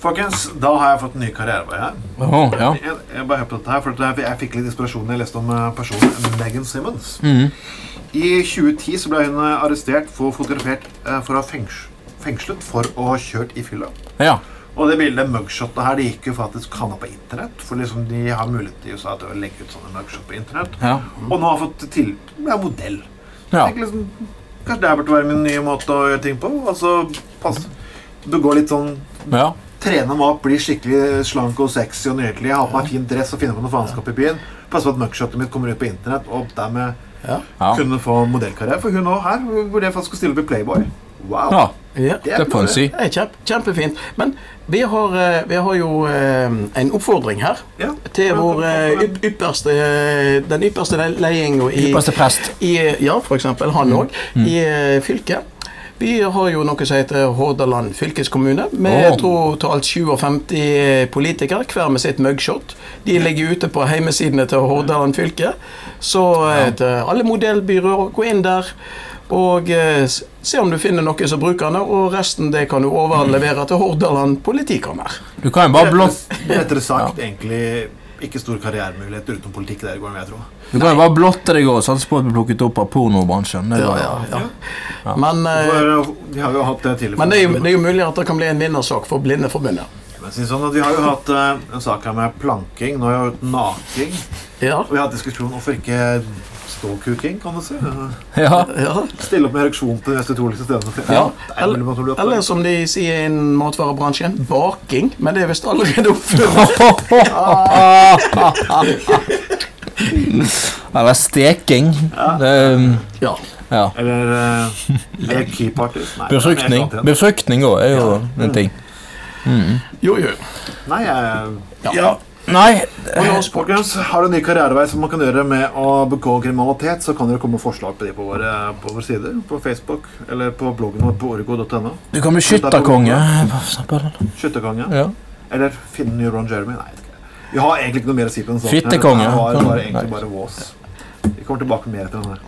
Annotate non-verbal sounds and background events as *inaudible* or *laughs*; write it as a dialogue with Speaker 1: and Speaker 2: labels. Speaker 1: Folkens, da har jeg fått en ny karrierevei her.
Speaker 2: Åh, ja.
Speaker 1: Jeg, jeg bare hør på dette her, for dette her- jeg fikk litt inspirasjon da jeg leste om eh, personen Megan Simmons. I 2010 så ble hun eh, arrestert for fotografert eh, for å ha fengs fengslet for å ha kjørt i fylla.
Speaker 2: ja.
Speaker 1: Og det bildet, mugshotet her, det gikk jo faktisk kan på internett. For liksom de har mulighet i USA til å legge ut sånne mugshot på internett.
Speaker 2: Ja.
Speaker 1: Og nå har jeg fått til ja, modell.
Speaker 2: Ja.
Speaker 1: Tenk liksom, kanskje det her burde være min nye måte å gjøre ting på. Altså, pass. Begå litt sånn
Speaker 2: ja.
Speaker 1: Trene meg opp, bli skikkelig slank og sexy og nydelig. Ha på meg fin dress og finne på noe faenskap i byen. Passe på at mugshotet mitt kommer ut på internett og dermed
Speaker 3: Ja.
Speaker 2: Ja.
Speaker 1: kunne få modellkarriere. For hun òg her hun vurderte faktisk å stille opp i Playboy. Wow.
Speaker 2: ja.
Speaker 3: Ja.
Speaker 1: Det er
Speaker 2: Det får en si.
Speaker 3: Det er kjempe, kjempefint. Men vi har, eh, vi har jo eh, en oppfordring her.
Speaker 1: Ja.
Speaker 3: Til vår eh, yp- ypperste eh, Den ypperste le- ledelsen i
Speaker 2: Ypperste prest.
Speaker 3: I, ja, for eksempel han
Speaker 2: Mm.
Speaker 3: òg. I eh, fylket. Vi har jo noe som heter Hordaland fylkeskommune, med
Speaker 2: Åh.
Speaker 3: jeg tror totalt 57 politikere, hver med sitt mugshot. De ligger ute på heimesidene til Hordaland fylke. Så eh, til alle modellbyråer, gå inn der og eh, s- se om du finner noe som brukerne, og resten det kan du overlevere til Hordaland politikammer.
Speaker 2: Du kan jo bare blåse
Speaker 1: Rettere sagt egentlig ikke stor karrieremuligheter utenom politikk der i går, vil jeg tro.
Speaker 2: Du kan jo bare blotte deg og satse på å bli plukket opp av pornobransjen. Det var, ja.
Speaker 3: ja. Men, eh,
Speaker 1: For eh, vi har jo hatt det tidligere.
Speaker 3: men det, er jo, det er jo mulig at det kan bli en vinnersak for Blindeforbundet.
Speaker 1: Men si sånn at vi har jo hatt eh, en sak her med planking. Nå har vi hatt naking.
Speaker 3: Ja,
Speaker 1: Og vi har hatt diskusjon om hvorfor ikke ståkuking, kan du si.
Speaker 2: Ja.
Speaker 3: ja.
Speaker 1: Stille opp med ereksjon på de neste to liksom stedene.
Speaker 3: Ja.
Speaker 1: Det er mulig man tror du er opptatt.
Speaker 3: Eller som de sier innen matvarebransjen, baking. Men det er visst *laughs* allerede oppfunnet.
Speaker 2: *laughs* Eller steking. Det, um,
Speaker 3: Ja.
Speaker 2: ja.
Speaker 1: Eller uh, lek keepartist. Nei,
Speaker 2: Befruktning.
Speaker 1: det er helt sant igjen.
Speaker 2: Befruktning òg er jo en ting.
Speaker 3: Jo, jo.
Speaker 1: Nei, jeg
Speaker 2: Nei
Speaker 1: Og nå, folkens, har du en ny karrierevei som man kan gjøre med å begå kriminalitet, så kan dere komme med forslag på de på våre, på våre sider. På Facebook eller på bloggen vår på orgo.no.
Speaker 2: Du kan bli skytterkonge. for eksempel.
Speaker 1: Skytterkonge.
Speaker 2: Ja.
Speaker 1: Eller finne en ny Ron Jeremy. Nei, jeg vet ikke. Vi har egentlig ikke noe mer å si på den saken. her.
Speaker 2: Fittekonge.
Speaker 1: Det var bare,
Speaker 2: Nei.
Speaker 1: egentlig bare vås. Vi kommer tilbake med mer etter den her.